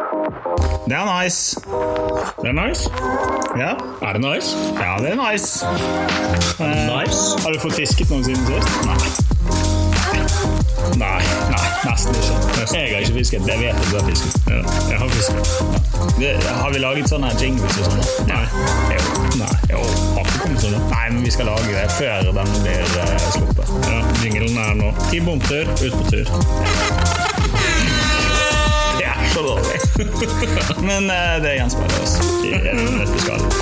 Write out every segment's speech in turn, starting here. Det er nice. Det er nice. Ja, Er det nice? ja det er nice. Eh, Nice? Har du fått fisket noe siden sist? Nei. Nei, nei, nesten ikke. Nesten. Jeg har ikke fisket. Det vet jeg du har fisket. Ja, jeg har fisket. Ja. Det, har vi laget sånne jingles og sånn? Nei. Jo. Nei. Jo, har ikke kommet sånn. Nei, men vi skal lage det før den blir eh, sluppet. Ja, jinglen er nå. Ti bomter, ut på tur. Det er så dårlig. men eh, det gjenspeiler oss i dette skalet.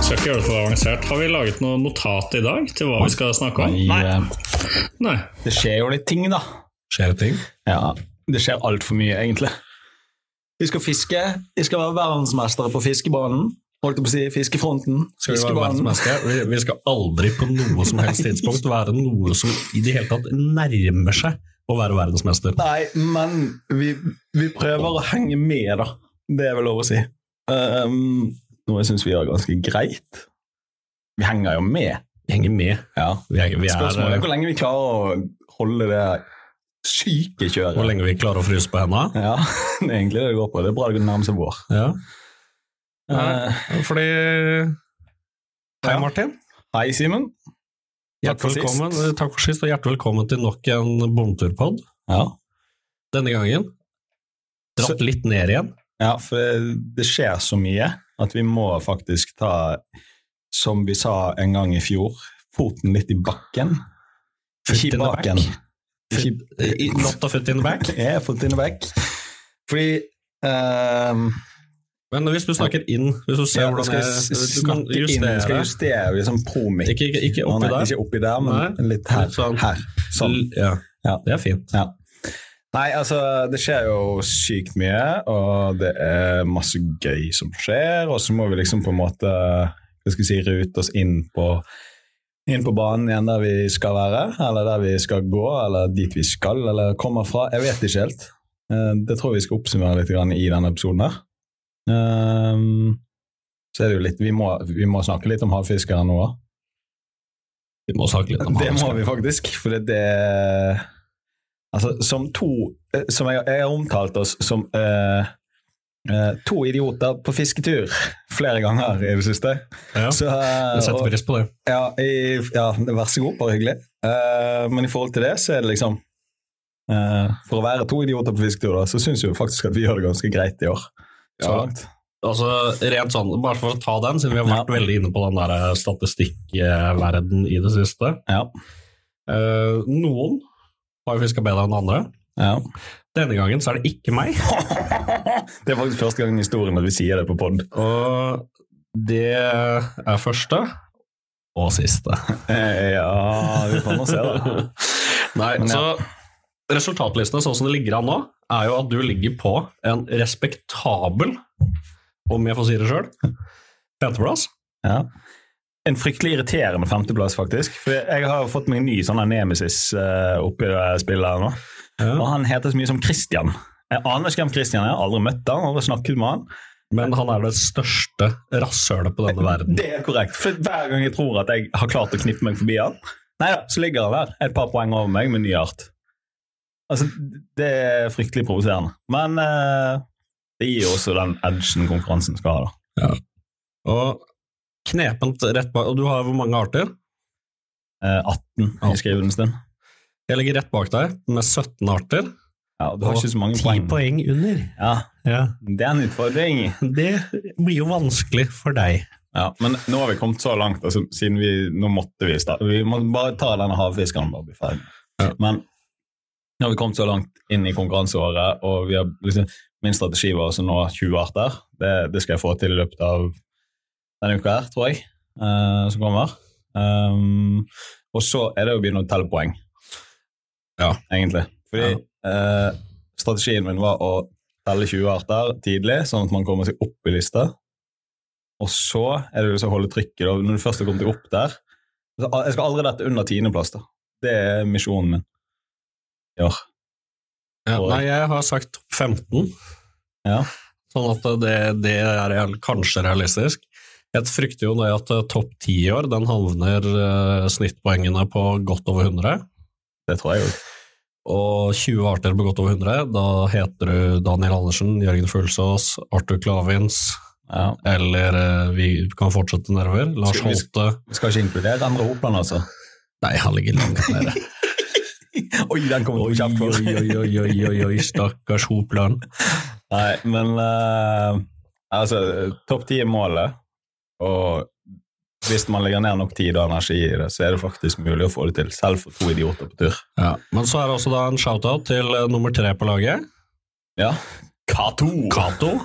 Skal ikke gjøre det for avansert. Har vi laget noe notat i dag til hva vi skal snakke om? I, Nei. eh, Nei. det skjer jo litt ting, da. Skjer det ting? Ja, Det skjer altfor mye, egentlig. Vi skal fiske. Vi skal være verdensmestere på fiskebanen. Holdt jeg på å si fiskefronten. Skal vi være Fiskebanen. verdensmestere? Vi, vi skal aldri på noe som helst tidspunkt være noe som i det hele tatt nærmer seg å være verdensmester. Nei, men vi, vi prøver å henge med, da. Det er vel lov å si. Um, noe jeg syns vi gjør ganske greit. Vi henger jo med. Vi henger med. Ja. Vi er, eh, vi er, Spørsmålet er hvor lenge vi klarer å holde det syke kjøret. hvor lenge vi klarer å fryse på hendene. Ja, det er egentlig det det går på. Det er bra det nærmer seg vår. Ja. Eh, Fordi Hei, Ja. Martin. hei, Simen. Takk for Hjertelig sist. velkommen, eh, takk for sist, og hjertelig velkommen til nok en bomturpod. Ja. Denne gangen dratt litt ned igjen. Ja, for det skjer så mye at vi må faktisk ta, som vi sa en gang i fjor, foten litt i bakken. Foot Ikke i in the back. baken. Ikke Eh, Not a foot in the back. Jeg er foten i back. Fordi ehm, Men hvis du snakker inn, hvis du ser ja, hvordan skal s- jeg, du kan snakke inn, justere skal justere liksom promik. Ikke, ikke, ikke Nei, oppi nei, der. Ikke oppi der, men litt her. Litt sånn. her. Sånn. L- Ja. Ja. det er fint. Ja. Nei, altså, det skjer jo sykt mye, og det er masse gøy som skjer, og så må vi liksom på en måte hva skal vi si, rute oss inn på, inn på banen igjen der vi skal være, eller der vi skal gå, eller dit vi skal, eller kommer fra. Jeg vet ikke helt. Eh, Det tror jeg vi skal oppsummere litt grann i denne episoden her. Ehm, Så er det jo litt Vi må, vi må snakke litt om havfiskere nå òg. Vi må snakke litt om Det må havfiske. vi faktisk, for det, det Altså, som to eh, Som jeg, jeg har omtalt oss som eh, eh, to idioter på fisketur flere ganger i det siste. Ja, Så, eh, jeg setter og- pris på det. ja, i, ja, vær så god, bare hyggelig. Eh, men i forhold til det, så er det liksom eh, For å være to idioter på fisketur, da, så syns jeg jo faktisk at vi gjør det ganske greit i år. Så Ja. langt. Altså, rent sånn, Bare for å ta den, siden vi har vært Ja. veldig inne på den der statistikkverden i det siste. Ja. Eh, noen har jo fiska bedre enn andre. ja. Denne gangen så er det ikke meg. Det er faktisk første gang i historien at vi sier det på pod. Og det er første og siste. Eh, ja, vi får nå se, da. Nei, Men så resultatlistene sånn som det ligger an nå, er jo at du ligger på en respektabel, om jeg får si det sjøl, femteplass. Ja. En fryktelig irriterende femteplass, faktisk. For jeg har jo fått meg en ny sånn her nemesis eh, oppi det spillet her nå. Og Ja. han heter så mye som Christian. Jeg aner ikke hvem Christian er, jeg har aldri møtt han, aldri snakket med han. Men han er det største rasshølet på denne verden. Det er korrekt. For hver gang jeg tror at jeg har klart å knippe meg forbi han, nei da, så ligger han der et par poeng over meg med ny art. Altså, det er fryktelig provoserende. Men eh, det gir jo også den edgen konkurransen skal ha, da. Og knepent rett bak Og du har hvor mange arter? Eh, 18 i skrivekunsten. Jeg ligger rett bak deg med 17 arter. Ja, du har Og ikke så mange 10 poeng. poeng under. Ja, Ja. det er en utfordring. Det blir jo vanskelig for deg. Ja, men nå har vi kommet så langt, altså, siden vi nå måtte vi starte. Vi må bare ta denne havfiskeren og bare bli ferdig. Ja. Men nå har vi kommet så langt inn i konkurranseåret, og vi har, liksom, min strategi var også nå 20 arter. Det, det skal jeg få til i løpet av denne uka her, tror jeg, eh, som kommer. Um, og så er det å begynne å telle poeng, Ja. egentlig. Fordi eh, strategien min var å telle 20 arter tidlig, sånn at man kommer seg opp i lista. Og så er det jo så å holde trykket. Da. Når du først har kommet deg opp der så al- Jeg skal aldri dette under tiendeplass. da. Det er misjonen min. Ja. Ja, Og- nei, jeg har sagt topp 15. Ja. Sånn at det, det er real- kanskje realistisk. Jeg frykter jo det at eh, topp 10 i år, den havner eh, snittpoengene på godt over 100. Det tror jeg jo. og 20 arter på godt over 100. Da heter du Daniel Andersen, Jørgen Fuglsås, Arthur Klavins, Ja. eller eh, vi kan fortsette nedover. Lars Skal vi- Holte. Vi skal ikke inkludere den roplanen, altså. Nei, han ligger langt nede. Oi, den kommer til å bli kjapt. oi, oi, oi, oi, oi, stakkars Hopland. Nei, men eh, altså, topp ti er målet, og hvis man legger ned nok tid og energi i det, så er det faktisk mulig å få det til, selv for to idioter på tur. Ja. Men så er det også da en shout-out til eh, nummer tre på laget, Ja. Kato! Cato,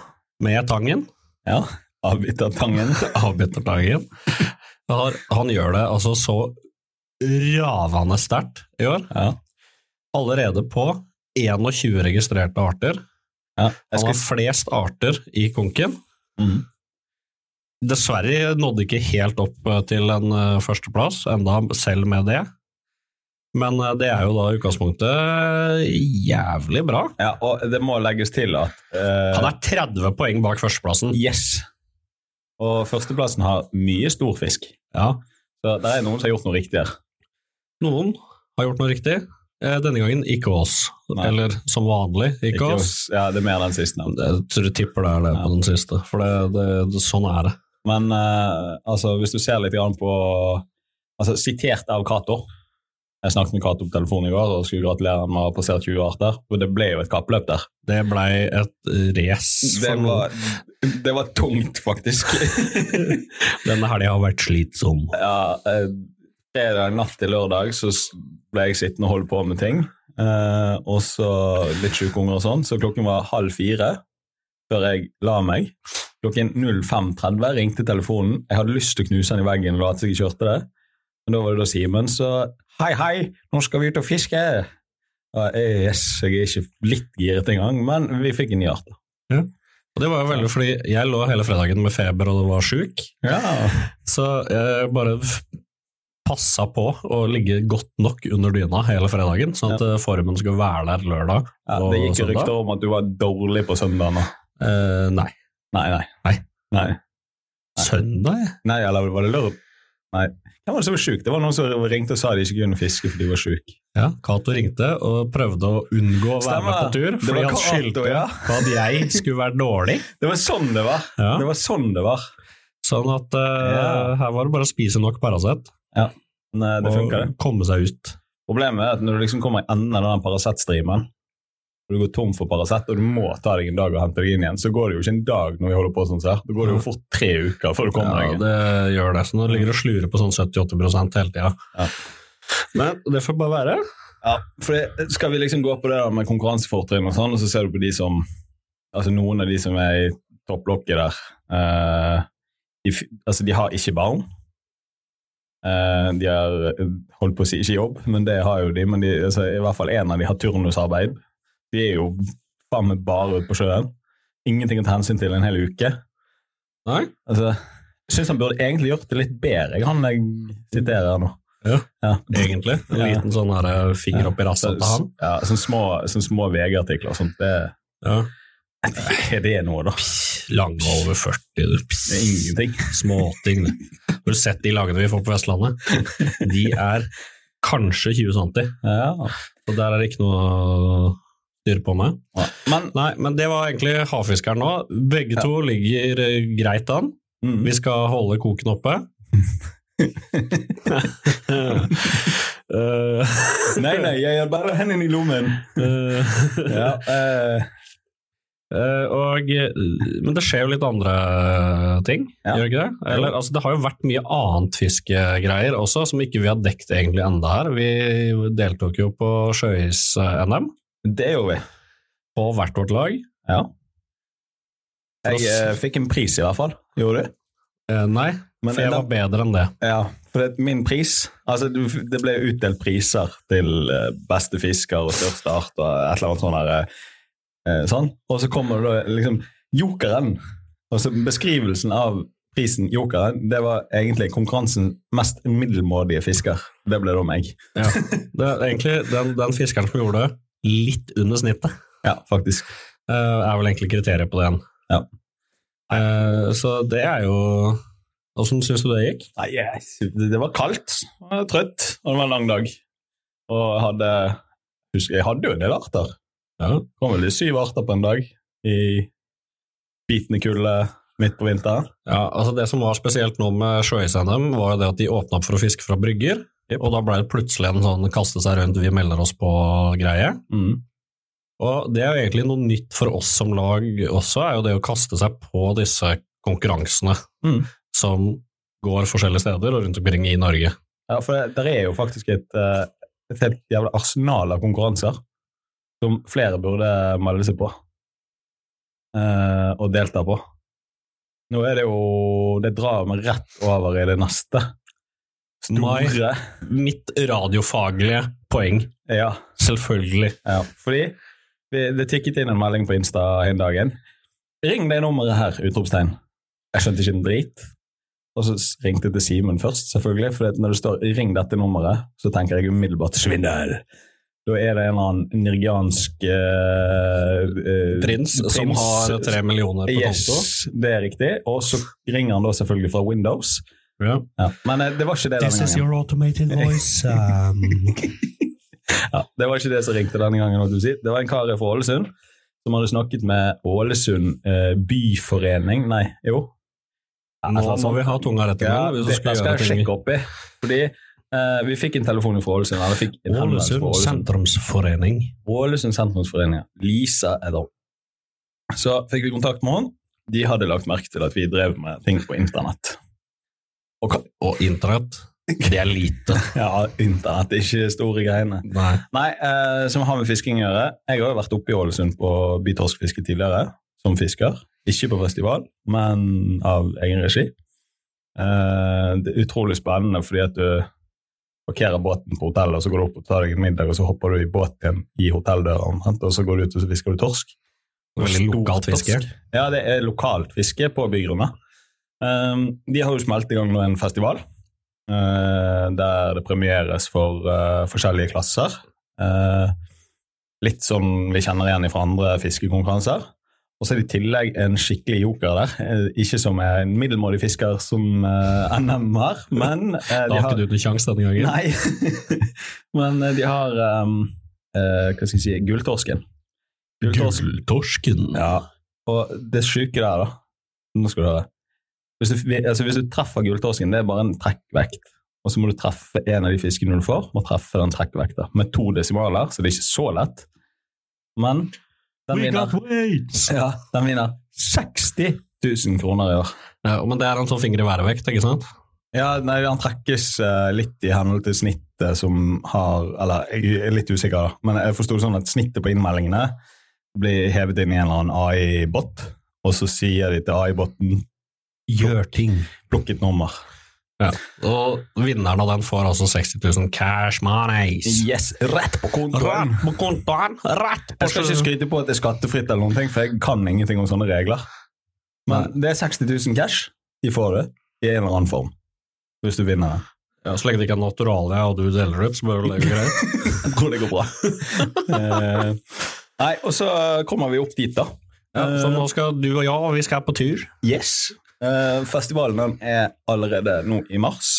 med Tangen. Ja, avbit av tangen. avbryter dagen. Han, han gjør det altså så ravende sterkt i år. Ja. Allerede på 21 registrerte arter. Ja, jeg Han har skal... flest arter i konken. Mm. Dessverre nådde ikke helt opp eh, til en eh, førsteplass, enda selv med det. Men eh, det er jo da i utgangspunktet eh, jævlig bra. ja, og det må legges til at eh, Han er 30 poeng bak førsteplassen. Yes! Og førsteplassen har mye stor fisk. Ja. Så det er noen som har gjort noe riktig her. Noen har gjort noe riktig. Eh, Denne gangen ikke oss. Nei. Eller som vanlig, ikke, Ikke oss. oss. Ja, det er mer den sistnevnte. Jeg tror jeg tipper det er det Ja. på den siste, for det, det, det, sånn er det. Men eh, altså, hvis du ser litt grann på altså, Sitert av Cato. Jeg snakket med Cato på telefonen i går og skulle gratulere han med å ha passert 20 arter. Og det ble jo et kappløp der. Det blei et race. for noen. det var tungt, faktisk. Denne helga har vært slitsom. ja, eh, fredag natt til lørdag så s- ble jeg sittende og holde på med ting. Eh, og så litt sjuke unger og sånn. Så klokken var halv fire før jeg la meg. Klokken 05.30 ringte telefonen. Jeg hadde lyst til å knuse den i veggen og late som jeg ikke hørte det. Men da var det da Simen så Hei, hei, nå skal vi ut og fiske! Ja, eh, yes, jeg er ikke litt giret engang, men vi fikk en hjerte. Og det var jo veldig fordi jeg lå hele fredagen med feber og var sjuk, Ja. så jeg bare f- passa på å ligge godt nok under dyna hele fredagen, sånn at eh, formen skulle være der lørdag. det og gikk jo søndag. rykter om at du var dårlig på søndagene. Eh, nei. Nei, nei. Nei. nei. Søndag? Nei, eller var det lørdag? Nei. Hvem var det som var sjuk? Det var noen som ringte og sa de ikke kunne fiske fordi de var sjuk. Ja, Cato ringte og prøvde å unngå å være Stemmer. med på tur, Det fordi var han Cato, skyldte ja. på at jeg skulle være dårlig. Det var sånn det var. Ja. Det var sånn det var. Sånn at eh, Ja. her var det bare å spise nok Paracet Men eh, det og funka, det. komme seg ut. Problemet er at når du liksom kommer i enden av den Paracet-streamen, og du går tom for Paracet, og du må ta deg en dag og hente deg inn igjen, så går det jo ikke en dag når vi holder på sånn som her. Da går det jo fort tre uker før du kommer Ja, deg inn. det gjør det. Så nå ligger det og slurer på sånn 70-80 hele tida. Ja. Men det får bare være. Ja, for det, skal vi liksom gå på det da med konkurransefortrinn og sånn, og så ser du på de som Altså noen av de som er i topplokket der eh, de, f- Altså, de har ikke barn. Eh, de har eh, holdt på å si ikke jobb, men det har jo de. Men de, altså, i hvert fall én av de har turnusarbeid. De er jo faen meg bare ute på sjøen. Ingenting å ta hensyn til en hel uke. Nei? Altså, jeg syns han burde egentlig gjort det litt bedre, jeg, han jeg siterer nå. Ja. ja. Egentlig. En Ja. liten sånn her, eh, finger opp i Så, rassen til han. ja, sånne små, sånne små VG-artikler og sånt, det, Ja. er det noe, da? Lange over 40, du. Det er ingenting. Småting. Har du sett de lagene vi får på Vestlandet? De er kanskje 20 cm, så der er det ikke noe å styre på med. Ja. Men Nei, men det var egentlig havfiskeren nå. Begge Ja. to ligger eh, greit an. mm, Vi skal holde koken oppe. Eh, Nei, nei, jeg har bare hendene i lommen. eh, Ja, eh, eh, og, eh, men det skjer jo litt andre eh, ting, Ja. gjør det ikke det? Eller, altså, det har jo vært mye annet fiskegreier også, som ikke vi har dekt egentlig enda her. Vi deltok jo på sjøis-NM, det er jo vi. på hvert vårt lag. Ja. Jeg eh, fikk en pris, i hvert fall. Gjorde du? Eh, nei, Men for jeg da- var bedre enn det. Ja, for det, min pris Altså, du, det ble utdelt priser til eh, beste fisker og største art og et eller annet sånn her eh, Sånn. Og så kommer det da liksom Jokeren. Altså beskrivelsen av prisen Jokeren, det var egentlig konkurransen mest middelmådige fisker. Det ble da meg. Ja. Det er egentlig den, den fiskeren som gjorde det litt under snittet, Ja, faktisk. eh, er vel egentlig kriteriet på den. Ja. Eh, så det er jo Åssen syns du det gikk? Nei, jeg- det det var kaldt, og jeg var trøtt, og det var en lang dag. Og jeg hadde Husker, jeg hadde jo en del arter. Ja. Kom vel de syv arter på en dag i bitende kulde midt på vinteren. Ja, altså Det som var spesielt nå med Sjøis-NM, var jo det at de åpna opp for å fiske fra brygger. Og da ble det plutselig en sånn kaste seg rundt, vi melder oss på-greie. Og det er jo egentlig noe nytt for oss som lag også, er jo det å kaste seg på disse konkurransene Mm. som går forskjellige steder og rundt omkring i Norge. Ja, for det, der er jo faktisk et, eh, et helt jævla arsenal av konkurranser som flere burde melde seg på eh, og delta på. Nå er det jo Det drar meg rett over i det neste. Mai. Store. Mitt radiofaglige poeng, Ja, selvfølgelig. ja. Fordi det, det tikket inn en melding på Insta en dagen. Ring det nummeret her! Utropstegn. Jeg skjønte ikke en drit. Og så s- ringte jeg til Simen først, selvfølgelig. For når det står 'ring dette nummeret', så tenker jeg umiddelbart 'svindel'. Da er det en eller annen nigeriansk eh, eh, Prins, som prins- har tre millioner på konto. Yes, det er riktig. Og så ringer han da selvfølgelig fra Windows. Ja. Ja. Men eh, det var ikke det denne gangen. automated voice. Um, Ja, det var ikke det som ringte denne gangen. holdt jeg på å Si. Det var en kar fra Ålesund som hadde snakket med Ålesund eh, byforening Nei, jo. Nå må vi ha tunga rett i ja, munnen. hvis det, det vi skal skal gjøre jeg ting. sjekke opp i. Fordi eh, vi fikk en telefon fra Ålesund. Eller fikk en henvendelse fra Ålesund Ålesund. sentrumsforening. Ålesund sentrumsforening. ja. Lisa er det. Så fikk vi kontakt med henne. De hadde lagt merke til at vi drev med ting på internett. Og, ka- Og internett. Det er lite. ja, internett er ikke store greiene. Nei. Nei, eh, som har med fisking å gjøre. Jeg har jo vært oppe i Ålesund på bytorskfiske tidligere, som fisker. Ikke på festival, men av egen regi. Eh, det er utrolig spennende fordi at du parkerer båten på hotellet, og så går du opp og tar deg en middag, og så hopper du i båten igjen i hotelldøra, omtrent, og så går du ut og så fisker du torsk. Veldig Stor lokalt fiske. torsk. Ja, det er lokalt fiske på bygrunna. Um, de har jo smelt i gang nå en festival eh, der det premieres for eh, forskjellige klasser. Eh, litt som vi kjenner igjen fra andre fiskekonkurranser. Og så er det i tillegg en skikkelig joker der. Eh, ikke som en middelmådig fisker som eh, NM har, men eh, de Da har ikke du noen sjanse denne gangen. Nei. Men eh, de har ehm, eh, Hva skal jeg si Gulltorsken. Gulltorsken. Gulltorsken. Ja. Og det syke der, da Nå skal du høre. Hvis du, vi- altså hvis du treffer gulltorsken, det er bare en trekkvekt. Og så må du treffe en av de fiskene du får, må treffe den trekkvekta. Med to desimaler, så det er ikke så lett. Men den vinner, weights! ja, den vinner 60 000 kroner i år. Ja, men det er en sånn finger i været-vekt, ikke sant? Ja, nei, han trekkes eh, litt i henhold til snittet som har Eller jeg er litt usikker, da. Men jeg forsto det sånn at snittet på innmeldingene blir hevet inn i en eller annen AI-bot, og så sier de til AI-boten Gjør ting. 'plukk et nummer'. Og vinneren av den får altså 60 000 cash monies. Yes, rett på kontoen! på kontoen! Rett Jeg skal ikke skryte på at det er skattefritt, eller noen ting, for jeg kan ingenting om sånne regler. Men det er 60 000 cash. De får det i en eller annen form, hvis du vinner den. Ja, så lenge det ikke er naturalia og du deler ut, så bør vel det gå greit. Jeg tror det går bra. Eh, nei, og så kommer vi opp dit, da. Eh, Ja, så sånn nå skal du og jeg, vi skal på tur. Yes. Eh, festivalen den er allerede nå i mars.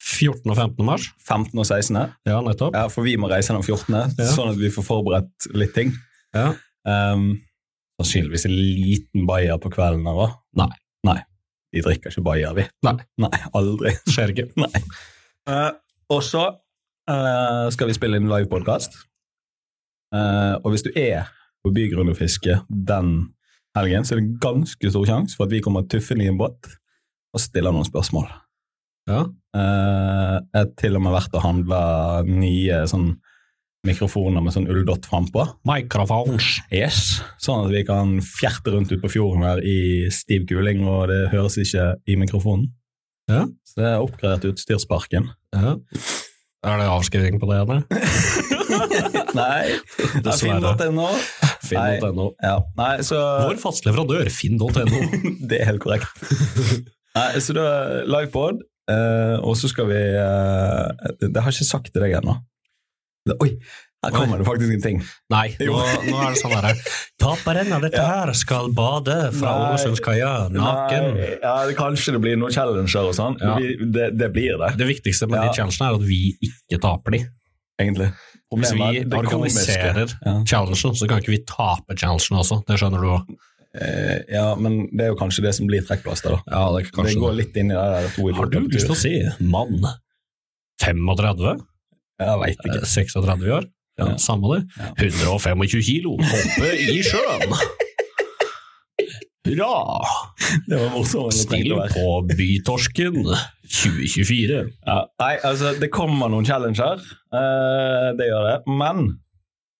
14. og 15. mars. 15. og 16. Ja, nettopp. Ja, for vi må reise den 14., Ja. sånn at vi får forberedt litt ting. Ja. Um, sannsynligvis en liten bayer på kvelden. her, hva? Nei. Nei. Vi drikker ikke bayer, vi. Nei. Nei, aldri. Skjer ikke. Eh, og så eh, skal vi spille inn livepodkast. Uh, og hvis du er på Bygrunn og fiske den helgen, så er det ganske stor sjanse for at vi kommer tuffende i en båt og stiller noen spørsmål. Ja. Eh, jeg har til og med vært og handla nye sånn mikrofoner med sånn ulldott frampå. Microphones. Yes. Sånn at vi kan fjerte rundt ut på fjorden her i stiv kuling, og det høres ikke i mikrofonen. Ja. Så det er oppgradert utstyrsparken. Ja. Er det avskriving på det ene? Nei, Dessverre. Finn.no. Finn.no. Ja. Nei, så Vår faste leverandør, finn.no. Det er helt korrekt. Nei, så da livepod, eh, og så skal vi eh, Det det har jeg ikke sagt til deg ennå. Det- Oi, her kommer det faktisk en ting. Nei, Jo. nå, nå er det sånn her. Taperen av dette her skal bade fra Nei. Ålesundskaia naken. Nei, ja, det- kanskje det blir noen challenger og sånn. Ja. Vi- Det, det blir det, Det viktigste med Ja. de challengene er at vi ikke taper de. egentlig. Hvis Problemet vi er det komiske. organiserer Ja. challengen, så kan ikke vi tape challengen også. Det skjønner du òg. Eh, ja, men det er jo kanskje det som blir trekkplaster, da. Ja, det, det går litt inn i det der to Har du lyst til å si mann 35? Jeg veit ikke. Eh, 36 i år? Ja, Ja. Samme det. Ja. 125 kilo, hoppe i sjøen! Hurra! Det var morsommere enn det Stil trengte å være. på bytorsken 2024. Ja. Nei, altså, det kommer noen challenger. eh, det gjør det. Men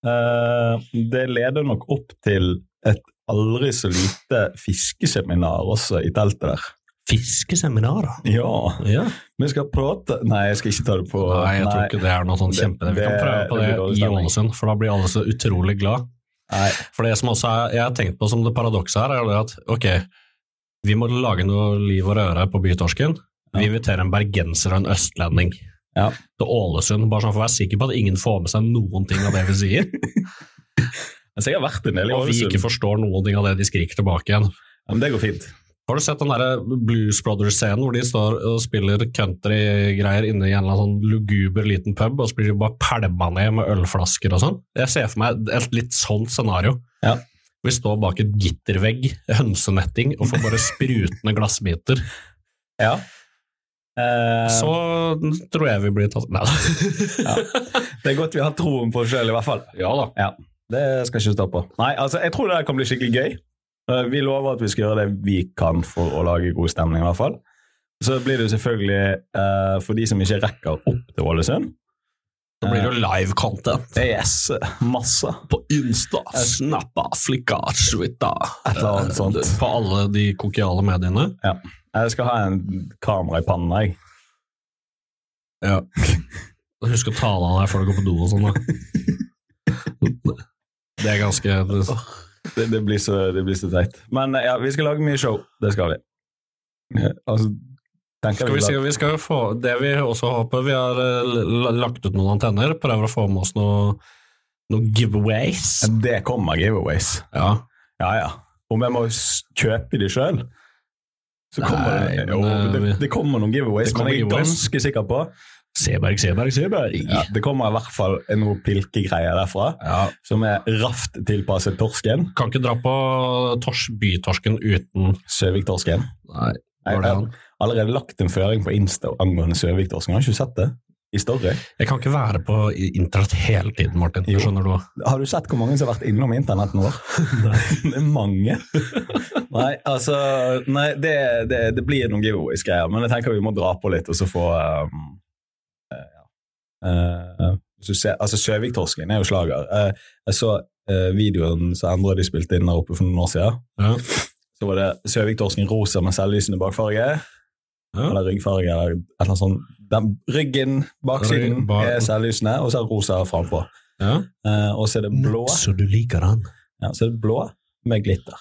eh, det leder nok opp til et aldri så lite fiskeseminar også i teltet der. Fiskeseminar, da. Ja, Ja. vi skal prate Nei, jeg skal ikke ta det på Nei, jeg tror ikke det er noe sånn Det- kjempe... Vi kan det- prøve på det det blir dårlig i stemning. Ålesund, for da blir alle så utrolig glad. Nei. For det som også er, jeg har tenkt på som det paradokset her, er jo det at ok, vi må lage noe liv og røre på bytorsken. Vi inviterer en bergenser og en østlending Ja. til Ålesund, bare sånn for å være sikker på at ingen får med seg noen ting av det vi sier, Altså, jeg har vært en del i og vi ikke Ålesund. forstår noen ting av det de skriker tilbake igjen. Ja, Men det går fint. Har du sett den der Blues Brothers-scenen hvor de står og spiller country-greier inne i en eller annen sånn luguber liten pub, og så blir de bare pælma ned med ølflasker og sånn? Jeg ser for meg et litt sånt scenario. Ja. Vi står bak et gittervegg, hønsenetting, og får bare sprutende glassbiter. Ja. Eh, Så tror jeg vi blir tatt Nei da. Det er godt vi har troen på oss sjøl, i hvert fall. Ja da. Det skal ikke stå på. Nei, altså, jeg tror det der kan bli skikkelig gøy. Eh, Vi lover at vi skal gjøre det vi kan for å lage god stemning, i hvert fall. Så blir det jo selvfølgelig, eh, for de som ikke rekker opp til Ålesund Da blir det jo live content det er Yes, masse. på Insta, Snappa, Flikka, Twitta Et eller annet sånt. På alle de kokiale mediene. Jeg skal ha en kamera i pannen, jeg. Ja. Husk å ta deg av deg før du går på do og sånn, da. Det er ganske Det, det, blir så, det blir så teit. Men eh, ja, vi skal lage mye show. Det skal vi. Eh, Altså, tenker Skal vi da- si vi skal jo få Det vi også håper Vi har eh, l- l- lagt ut noen antenner, prøver å få med oss noe noen giveaways. Det kommer giveaways. Ja. Ja, ja. Om jeg må s- kjøpe de sjøl, så kommer Nei, det, men, jo, det, eh, det kommer noen giveaways, det kommer men jeg er giveaways. ganske sikker på Seberg, Seberg, Seberg. ja, Det kommer i hvert fall noe pilkegreier derfra, Ja. som er raft tilpasset torsken. Kan ikke dra på tors, bytorsken uten Søviktorsken. Nei, Jeg var det har han? allerede lagt en føring på Insta angående søviktorsken. Har du ikke sett det? I story. Jeg kan ikke være på i- internett hele tiden, Martin. Jo. Det skjønner du. Har du sett hvor mange som har vært innom internetten vår? det er mange. Nei, altså nei, det, det, det blir noen giveaways-greier, men jeg tenker vi må dra på litt, og så få um, eh, ja. Eh, hvis du ser, altså Søviktorsken er jo slager. Eh, jeg så eh, videoen som Endre og de spilte inn der oppe for noen år siden. Ja. Så var det Søviktorsken rosa med selvlysende bakfarge, Ja. eller ryggfarge, eller et eller annet sånt. Den, ryggen, baksiden, Rygg, bak- er selvlysende, og så er rosa frampå. Ja. Eh, og så er det blå. Så du liker han. Ja, så er det blå med glitter.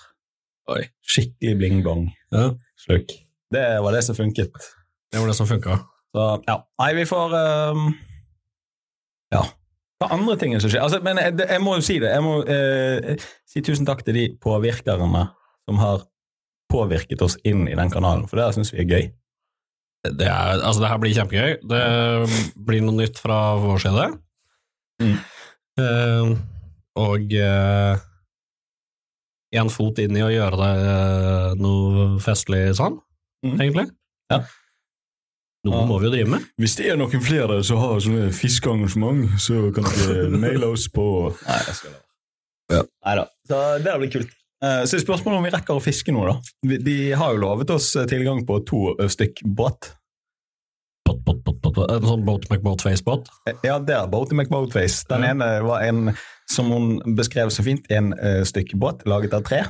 Oi. Skikkelig bling-bong. ja. Sluk. Det var det som funket. Det var det som funka. Så, ja. Nei, vi får ehm, Ja. Hva andre tingene som skjer? Altså, men jeg, det- jeg må jo si det. Jeg må eh, si tusen takk til de påvirkerne som har påvirket oss inn i den kanalen, for det syns vi er gøy. Det, er, altså, det her blir kjempegøy. Det blir noe nytt fra vår side. Mm. Eh, og eh, en fot inn i å gjøre det eh, noe festlig sånn, Mm. egentlig. Ja. Noe Ja. må vi jo drive med. Hvis det er noen flere som har sånne fiskearrangement, så kan dere maile oss på Nei, jeg skal la være. Neida. Så det blir kult. Eh, Så er spørsmålet om vi rekker å fiske nå, da. Vi- De har jo lovet oss tilgang på to eh, stykk båt. Bot, bot, bot, bot, bot. En sånn boat mcboat facebook Eh, Ja, der, Boaty McBoatface. Den Ja. ene var en, som hun beskrev så fint, en eh, stykk båt laget av tre.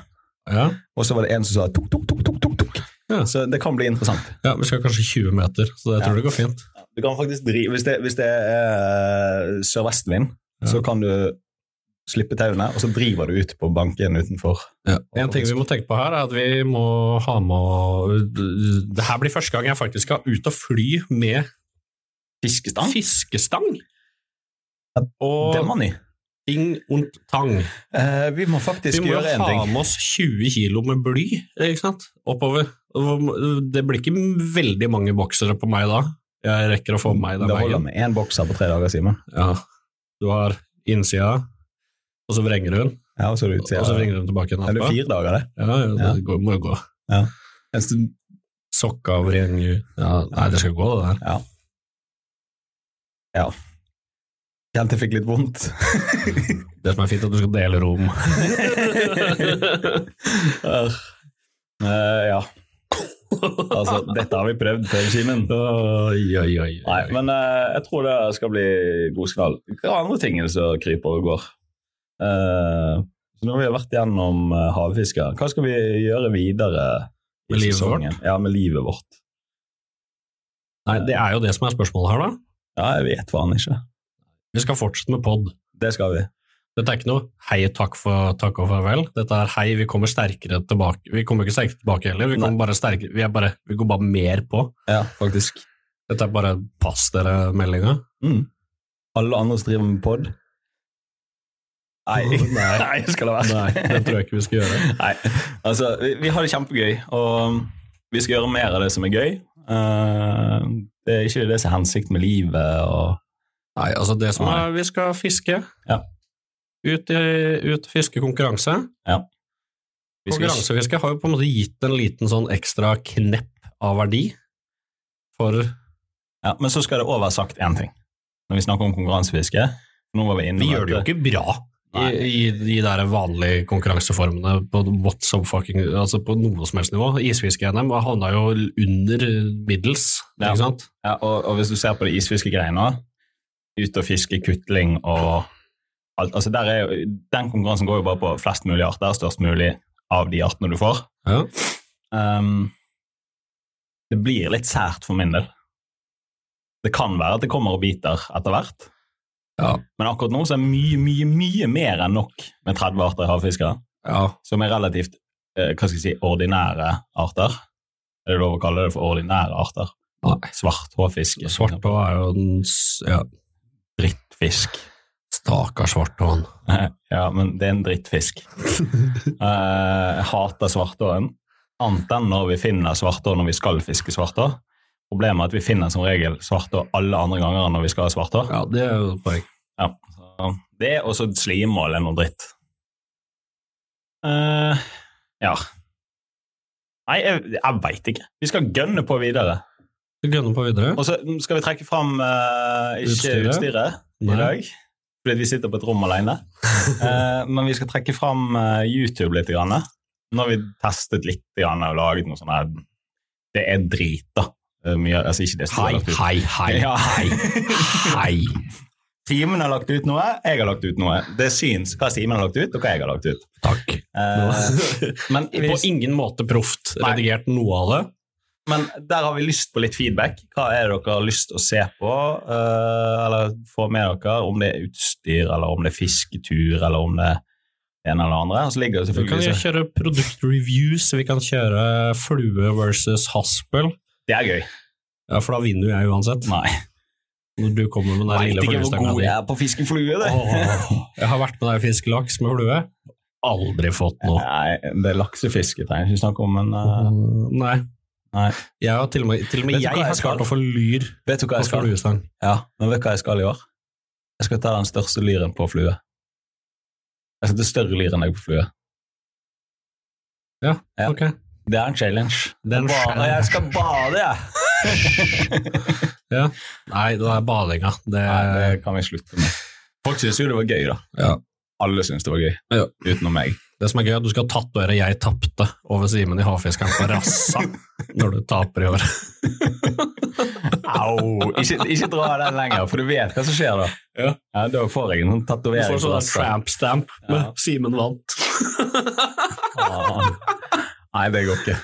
Ja. Og så var det en som sa tok, tok, tok, tok, tok, tok. Ja. Så det kan bli interessant. ja, vi skal kanskje 20 meter, så det Ja. tror jeg går fint. Du kan faktisk drive Hvis det, hvis det er sørvestvind, Ja. så kan du slippe tauene, og så driver du ut på banken utenfor. En ting vi må tenke på her, er at vi må ha med Det her blir første gang jeg faktisk skal ut og fly med Fiskestang? fiskestang. Ja, Det Og må ni. ting und tang. Eh, vi må faktisk Vi må jo gjøre en ha ting. med oss 20 kilo med bly eh, ikke sant? oppover. Og Det blir ikke veldig mange boksere på meg da. Jeg rekker å få med meg den det holder veien. med én bokser på tre dager, Simen. Ja. du har innsida, og så vrenger hun, Ja, og så er det og så utsida. vrenger hun tilbake igjen. Er det etterpå. fire dager, det? Ja, ja, det Ja. går, må jo gå. En stund Sokkeavreng ja, Nei, det skal gå, det der. Kjente jeg fikk litt vondt. Det som er fint, er at du skal dele rom. Arr. Eh, ja. Altså, dette har vi prøvd før, Simen. oi, oi, oi. Nei, men eh, jeg tror det skal bli god sknall. Hva er andre ting er det som kryper og går? Eh, så nå har vi vært gjennom eh, havfisker. Hva skal vi gjøre videre i Med livet sesongen? Ja, med livet vårt. Nei, det er jo det som er spørsmålet her, da. Ja, jeg vet faen ikke. Vi skal fortsette med pod. Det skal vi. Dette er ikke noe hei, takk, for, takk og farvel. Dette er hei, vi kommer sterkere tilbake. Vi kommer ikke sterkere tilbake heller, vi, kommer bare sterkere. Vi, er bare, vi går bare mer på. Ja, faktisk. Dette er bare pass dere meldinga. Mm. Alle andre som driver med pod? Nei. Nei. Nei, skal det være. Nei, det tror jeg ikke vi skal gjøre. Nei, altså vi, vi har det kjempegøy, og um, vi skal gjøre mer av det som er gøy. Eh, det er ikke det som er hensikten med livet. Og, Nei, altså det som er, vi skal fiske. Ja. Ut, i, ut fiske konkurranse. vi skal ikke- Konkurransefiske har jo på en måte gitt en liten sånn ekstra knepp av verdi for ja, men så skal det òg være sagt én ting når vi snakker om konkurransefiske. Nå var vi inne Vi om gjør det jo at- ikke bra i, Nei. i de der vanlige konkurranseformene på what some fucking, altså på noe som helst nivå. Isfiske-NM havna jo under middels, Ja. ikke sant? Ja, og, og hvis du ser på det isfiskegreiene, ut og fiske kutling og alt altså der er jo, Den konkurransen går jo bare på flest mulig arter, størst mulig av de artene du får. Ja. Ehm, det blir litt sært for min del. Det kan være at det kommer og biter etter hvert, Ja. men akkurat nå så er mye, mye, mye mer enn nok med 30 arter havfiskere, ja. som er relativt eh, hva skal jeg si, ordinære arter. Er det lov å kalle det for ordinære arter? Nei. Svart hårfisk. liksom. Svartå er jo den s- ja, drittfisk. Stakkars svartåen. Ja, men det er en drittfisk. Eh, Jeg hater svartåen. Annet enn når vi finner svartå når vi skal fiske svartå. Problemet er at vi finner som regel svartå alle andre ganger enn når vi skal ha svartå. Ja, det er jo et poeng. Ja. så Det og så slimål er noe dritt. eh ja. Nei, jeg, jeg veit ikke. Vi skal gønne på videre. Vi gønner på videre. Og så mm, skal vi trekke fram eh, ikke Utstyret. utstyret, Nei. i dag, fordi vi sitter på et rom alene. Eh, men vi skal trekke fram eh, YouTube litt. Grann. Nå har vi testet litt grann, og laget noe sånn her Det er drit, da. Eh, Mye, altså ikke det som er Hei, lagt ut. hei, hei, Ja. hei. Simen har lagt ut noe, jeg har lagt ut noe. Det syns hva Simen har lagt ut, og hva jeg har lagt ut. Takk. Eh, men, På vi, ingen måte proft Nei. redigert noe av det. men der har vi lyst på litt feedback. Hva er det dere har lyst til å se på? eh, eller få med dere, om det er utstyr, eller om det er fisketur, eller om det er det ene eller det andre. Og så ligger det Vi kan selvfølgelig jo kjøre produktreviews, vi kan kjøre flue versus haspel. Det er gøy. Ja, for da vinner jo jeg uansett. Nei. Når du kommer med den der Veit lille ikke hvor fluestanga god di. jeg er på å fiske flue, det. Åh, Jeg har vært med deg i fiskelaks med flue. Aldri fått noe. Mm, Nei, det er laksefiske, trenger jeg ikke snakke om, men eh, Nei. Nei. Jeg har til og med, til og med Vet du hva jeg jeg har skal? klart å få lyr Vet du hva på jeg skal? fluestang. Ja, men vet du hva jeg skal i år? Jeg skal ta den største lyren på flue. Jeg skal ta større lyr enn deg på flue. Ja. Ok. Det er en challenge. Det er en Jeg bader, challenge. Jeg skal bade, jeg! Nei, det er badinga. Det, Nei, det kan vi slutte med. Folk syns jo det var gøy, da. Eh, Ja. Alle syns det var gøy, Ja. utenom meg. det som er gøy, er at du skal tatovere 'Jeg tapte' over Simen i Havfiskeren på rassa når du taper i år. Au! Ikke, ikke dra den lenger, for du vet hva som skjer da. Ja. da får jeg en sånn Du tatovering. får på sånn rassa. tramp stamp med Ja. 'Simen vant'. Faen. Nei, det går ikke.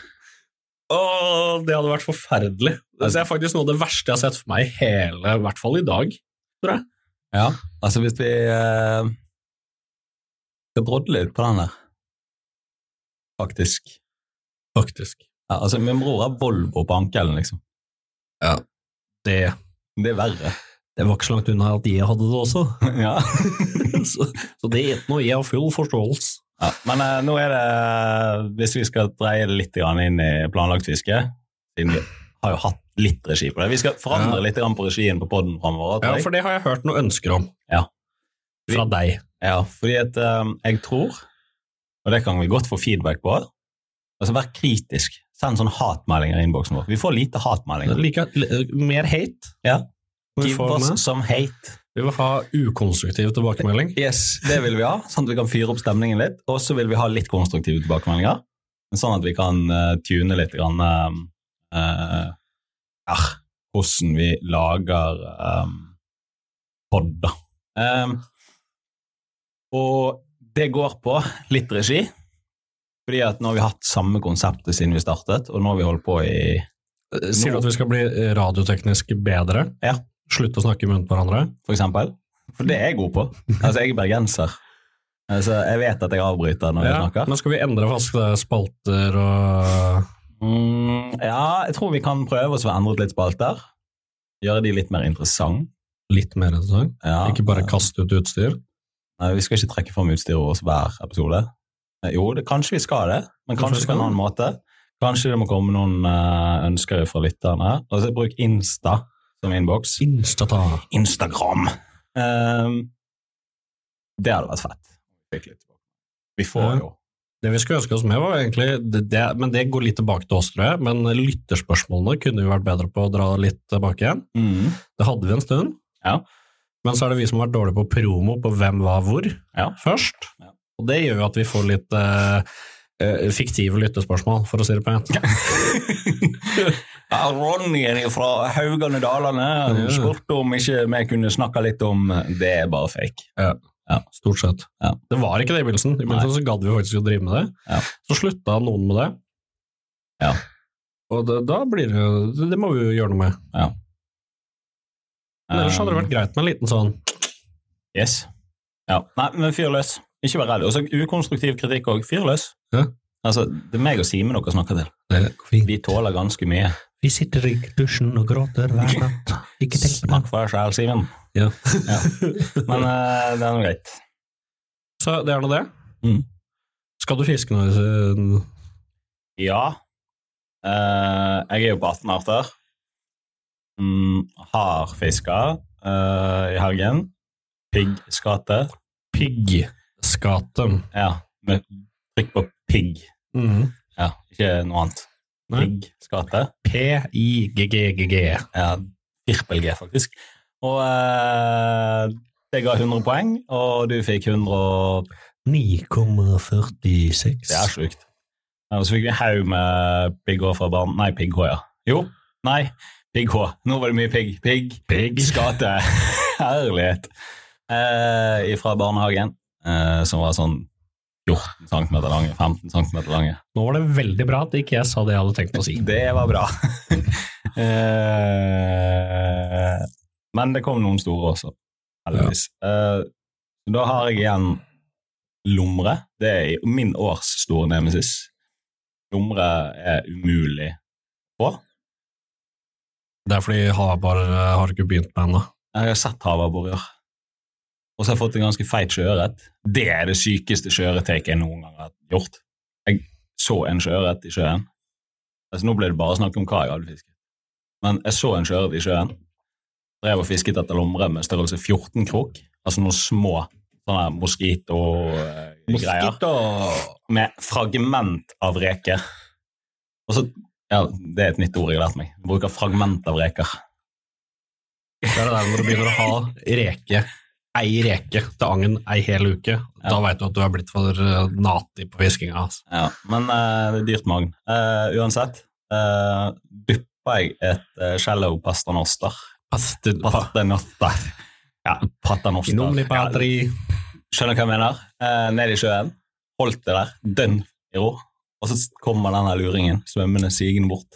Åh, det hadde vært forferdelig. Det er faktisk noe av det verste jeg har sett for meg i hele, i hvert fall i dag. Ja, altså hvis vi eh, skal brodle litt på den der, faktisk. Faktisk. Ja, altså min bror har Volvo på ankelen, liksom. Det, Det er verre. det var ikke så langt unna at jeg hadde det også. ja. så, så det er noe jeg har full forståelse. ja. Men eh, nå er det, hvis vi skal dreie det litt grann inn i planlagt fiske, siden vi har jo hatt litt regi på det. Vi skal forandre Ja. litt grann på regien på podden fremover. Ja, tror jeg. for det har jeg hørt noen ønsker om. Ja. fra deg. Ja, fordi at eh, jeg tror, og det kan vi godt få feedback på, altså vær kritisk. Send sånne hatmeldinger i innboksen vår. Vi får lite hatmeldinger. Like, li- mer hate. Ja. Vi, Give får us med. some hate. vi vil ha ukonstruktiv tilbakemelding. Yes, det vil vi ha, sånn at vi kan fyre opp stemningen litt. Og så vil vi ha litt konstruktive tilbakemeldinger, men sånn at vi kan eh, tune litt grann, eh, eh, ah, hvordan vi lager um, podder. Em, Eh, og det går på litt regi, fordi at nå har vi hatt samme konseptet siden vi startet, og nå har vi holdt på i Sier du at vi skal bli radioteknisk bedre? Ja. Slutte å snakke i munnen på hverandre? for eksempel. For det er jeg god på. Altså, jeg er bergenser. Altså, jeg vet at jeg avbryter når jeg Ja, snakker. Men skal vi endre faste spalter og Mm, ja, jeg tror vi kan prøve oss å endre litt spalter. Gjøre de litt mer interessant. litt mer enn sånn? Ja. Ikke bare kaste ut utstyr? Nei, vi skal ikke trekke fram utstyret vårt hver episode. Eh, Jo, det, kanskje vi skal det, men Kanskje vi kanskje på skal en det. annen måte. Kanskje det må komme noen eh, ønsker fra lytterne. Altså, bruk Insta som innboks. Instata. Instagram! Ehm, det hadde vært fett. Fikk litt. Vi Ja. får jo Det vi skulle ønske oss med, var egentlig det, det, Men det går litt tilbake til oss, tror jeg. Men lytterspørsmålene kunne vi vært bedre på å dra litt tilbake igjen. Mhm. Det hadde vi en stund. Ja. Men så er det vi som har vært dårlige på promo på hvem, hva, hvor Ja. først. Ja. Og det gjør jo at vi får litt eh, eh, fiktive lyttespørsmål, for å si det pent. Ja, Ronny fra Haugane Dalane Ja. spurte om ikke vi kunne snakke litt om Det er bare fake. Stort sett. Ja. Det var ikke det i begynnelsen. I begynnelsen så gadd vi faktisk å drive med det. Ja. Så slutta noen med det. Ja. Og det, da blir det jo- det- Det må vi jo gjøre noe med. Men ellers hadde det vært greit med en liten sånn Um, Yes. Ja. Nei, men fyr løs. Ikke vær redd. Og så ukonstruktiv kritikk òg. Fyr løs. Ja. Altså, det er meg og Simen dere snakker til. Eh, Vi, Vi tåler ganske mye. vi sitter i dusjen og gråter hver natt. Ikke tenk på det. Snakk for deg sjæl, Simen. Ja. Ja. Men eh, det er nå greit. Så det er nå det. Mm. Skal du fiske nå? eh, Øystein? Ja. Eh, jeg er jo på 18 arter. Mm, har fiska eh, i helgen. Piggskate. Piggskaten. Ja, med trykk på pigg. Mm. Ja, ikke noe annet. Nei. Piggskate. P-i-g-g-g-g. Ja, Virpel G, faktisk. Og eh, det ga 100 poeng, og du fikk 100 og 9,46. Det er sjukt. Ja, Og så fikk vi en haug med pigg H fra barn. Nei, pigg H, ja. Jo, nei, pigg H. Nå var det mye pigg. Pigg. Piggskate. Herlighet. Eh, fra barnehagen, eh, som var sånn 14 cm lange, 15 cm lange. Nå var det veldig bra at ikke jeg sa det jeg hadde tenkt å si. Det var bra. Eh, Men det kom noen store også, heldigvis. Eh, Da har jeg igjen Lomre. Det er i- min års store nemesis. Lomre er umulig på. Det er fordi Havar eh, har ikke begynt med ennå. Jeg har sett havaborrer. Og så har jeg fått en ganske feit sjøørret. Det er det sykeste sjøørrettaket jeg noen gang har gjort. Jeg så en sjøørret i sjøen. Altså, nå ble det bare snakk om hva jeg hadde fisket. Men jeg så en sjøørret i sjøen. Drev og fisket etter lomre med størrelse 14 krok. Altså noen små sånne moskito-greier. Med fragment av reker. Og så Ja, det er et nytt ord jeg har lært meg. Jeg bruker fragment av reker. Det er det der når du begynner å ha reke, ei reke til agn ei hel uke, da veit du at du er blitt for eh, nati på fiskinga. Altså. Ja, men eh, det er dyrt magn. Eh, uansett, uh, duppa jeg et eh, shallow pastanoster. Pastanoster. Ja, patanoster. Innomni Ja, patri. skjønner hva jeg mener. Eh, ned i sjøen, holdt det der, dønn i ro. Og så kommer denne luringen svømmende sigende bort.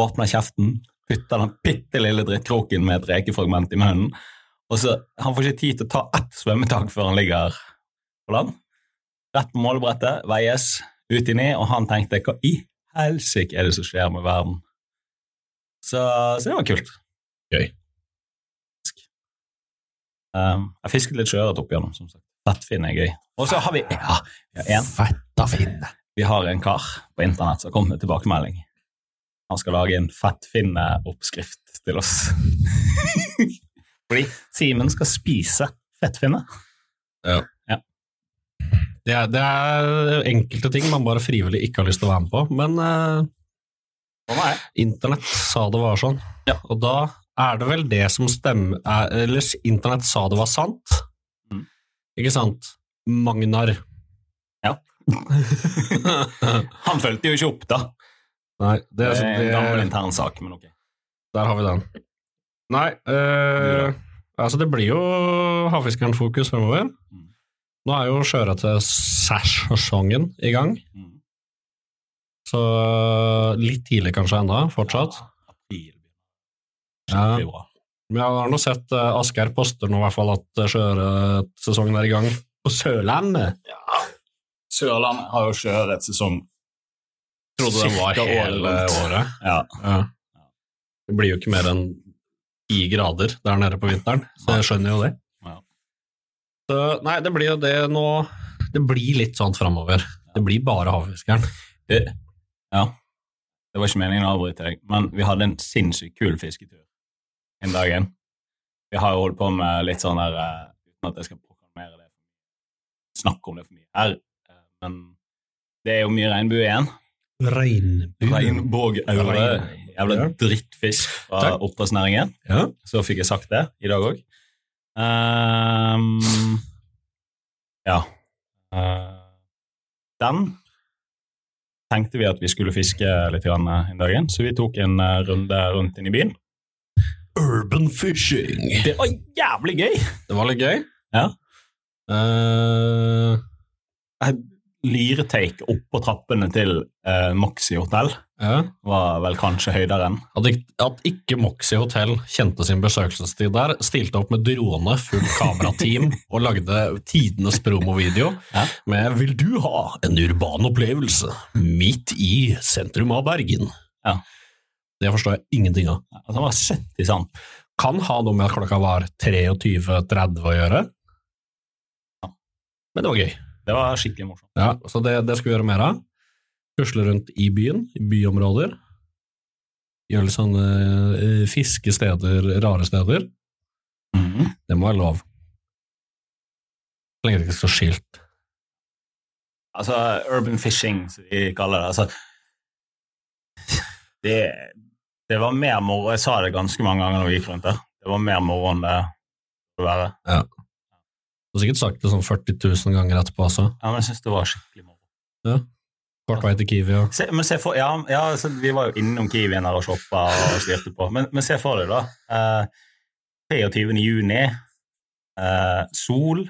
Åpner kjeften, putter den bitte lille drittkroken med et rekefragment i munnen. Og så, Han får ikke tid til å ta ett svømmetak før han ligger på land. Rett på målebrettet, veies, ut i ni, og han tenkte hva i helsike er det som skjer med verden? Så, så det var kult. Gøy. Eh, jeg fisket litt sjøørret opp igjennom, som sagt. Fettfinn er gøy. Og så har vi ja, vi har en Fetta finne. vi har en kar på internett som har kommet med tilbakemelding. Han skal lage en fettfinne-oppskrift til oss. Fordi Simen skal spise fettfinne. Det er, det er enkelte ting man bare frivillig ikke har lyst til å være med på, men eh, Sånn er det. Internett sa det var sånn. Og da er det vel det som stemmer er- Eller s- Internett sa det var sant. Mm. Ikke sant? Magnar. Ja. Han fulgte jo ikke opp, da. Nei, det Det er, er en gammel sånn, det, intern sak, men ok. der har vi den. Nei, eh, altså det blir jo havfiskeren-fokus fremover. Mm. Nå er jo sjøørretsesongen i gang, Mm. så eh, litt tidlig kanskje ennå, fortsatt. April. Ja. Det er bra. Men jeg har nå sett eh, Asgeir poster nå i hvert fall at eh, sjøørretsesongen er i gang på Sørlandet. Sørlandet har jo sjøørretsesong. Trodde den var Cirka hele året rundt. året. Ja. Ja. Det blir jo ikke mer enn ti grader der nede på vinteren, så jeg skjønner jo det. Ja. Så, nei, det blir jo det nå Det blir litt sånn framover. Det blir bare havfiskeren. Det, ja. det var ikke meningen å avbryte deg, men vi hadde en sinnssykt kul fisketur en dag igjen. Vi har jo holdt på med litt sånn der eh, Uten at jeg skal proklamere det, snakke om det for mye her, eh, men det er jo mye regnbue igjen. Regnbue. Regnbueaure. Jævla drittfisk fra Takk. oppdrettsnæringen. Ja. Så fikk jeg sagt det i dag òg. ja. Eh, den tenkte vi at vi skulle fiske litt grann eh, en dag igjen, så vi tok en eh, runde rundt inn i byen. Urban fishing. Det var jævlig gøy! Det var litt gøy. Ja. Eh, Ehm, Lyretake oppå trappene til eh, Maxi hotell ja. var vel kanskje høydere enn. At, ikk- at ikke Moxie Hotel kjente sin besøkelsestid der, stilte opp med drone, fullt kamerateam og lagde tidenes promovideo Ja. med 'Vil du ha en urban opplevelse midt i sentrum av Bergen'? Ja. Det forstår jeg ingenting av. Altså, den var 70 sant. Kan ha noe med at klokka var 23.30 å gjøre, men det var gøy. Det var skikkelig morsomt. Ja, så det, det skal vi gjøre mer av. Pusle rundt i byen, i byområder. Gjøre litt sånne eh, fiskesteder, rare steder. Det må være lov. Så lenge det ikke står skilt. Altså, urban fishing, som de kaller det. Altså, det, det var mer moro. Jeg sa det ganske mange ganger når vi gikk rundt der. Det var mer moro enn det burde være. Du har sikkert sagt det sånn 40 000 ganger etterpå også. Ja, men jeg synes det var skikkelig moro. Kort vei til Kiwi og Se, men se for, ja, ja, altså, vi var jo innom Kiwien her og shoppa og styrte på. Men, men se for deg, da. Eh, 23. juni. Eh, sol.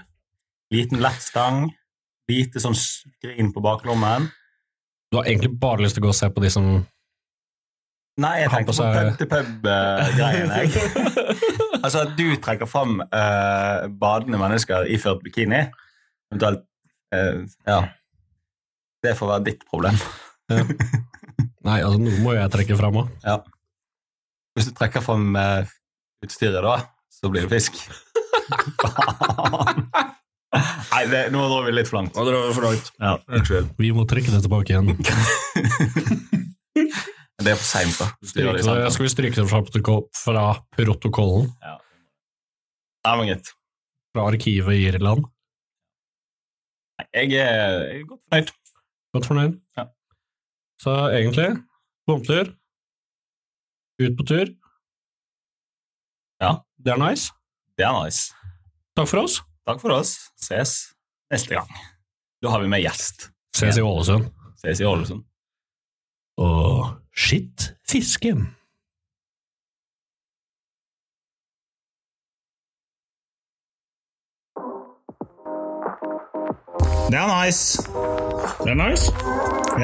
Liten lettstang. Lite sånn skrin på baklommen. Du har egentlig bare lyst til å gå og se på de som Nei, jeg Han tenkte på på seg- pub-til-pub-greien, jeg. altså, at du trekker fram eh, badende mennesker iført bikini, eventuelt eh, Ja. Det får være ditt problem. Nei, altså, noe må jeg trekke fram òg. Hvis du trekker fram eh, utstyret, da, så blir det fisk. Faen. Nei, det, nå drar vi litt for langt. Ja, unnskyld. Vi må trekke det tilbake igjen. Det er for seint, da. liksom. Hvis du gjør det i Stryke det, samtalen. skal vi stryke det fra, protoko- fra protokollen? Nei, men greit. Fra arkivet i Irland? Nei, Jeg er, jeg er godt fornøyd. Godt fornøyd. Ja. Så egentlig, bomtur, ut på tur. Ja. Det er nice. Det er nice. Takk for oss. Takk for oss. Ses neste gang. Da har vi med gjest. Ses i Ålesund. Ses i Ålesund. Og skitt fiske. Det er nice. Det er nice?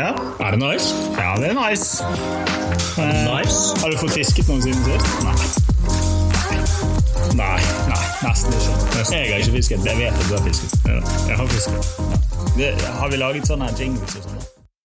Ja. Er det nice? Ja, det er nice. nice? Har du fått fisket noen siden sist? Nei. Nei, nei, nesten ikke. Jeg har ikke fisket. Jeg vet at du har fisket. Ja, Jeg har fisket. Det, har vi laget sånne jingles og sånn? da?